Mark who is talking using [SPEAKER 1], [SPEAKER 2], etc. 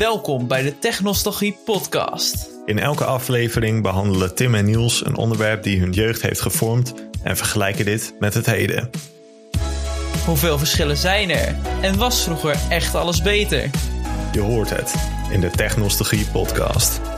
[SPEAKER 1] welkom bij de Technostalgie Podcast.
[SPEAKER 2] In elke aflevering behandelen Tim en Niels een onderwerp die hun jeugd heeft gevormd en vergelijken dit met het heden.
[SPEAKER 1] Hoeveel verschillen zijn er? En was vroeger echt alles beter?
[SPEAKER 2] Je hoort het in de Technostalgie Podcast.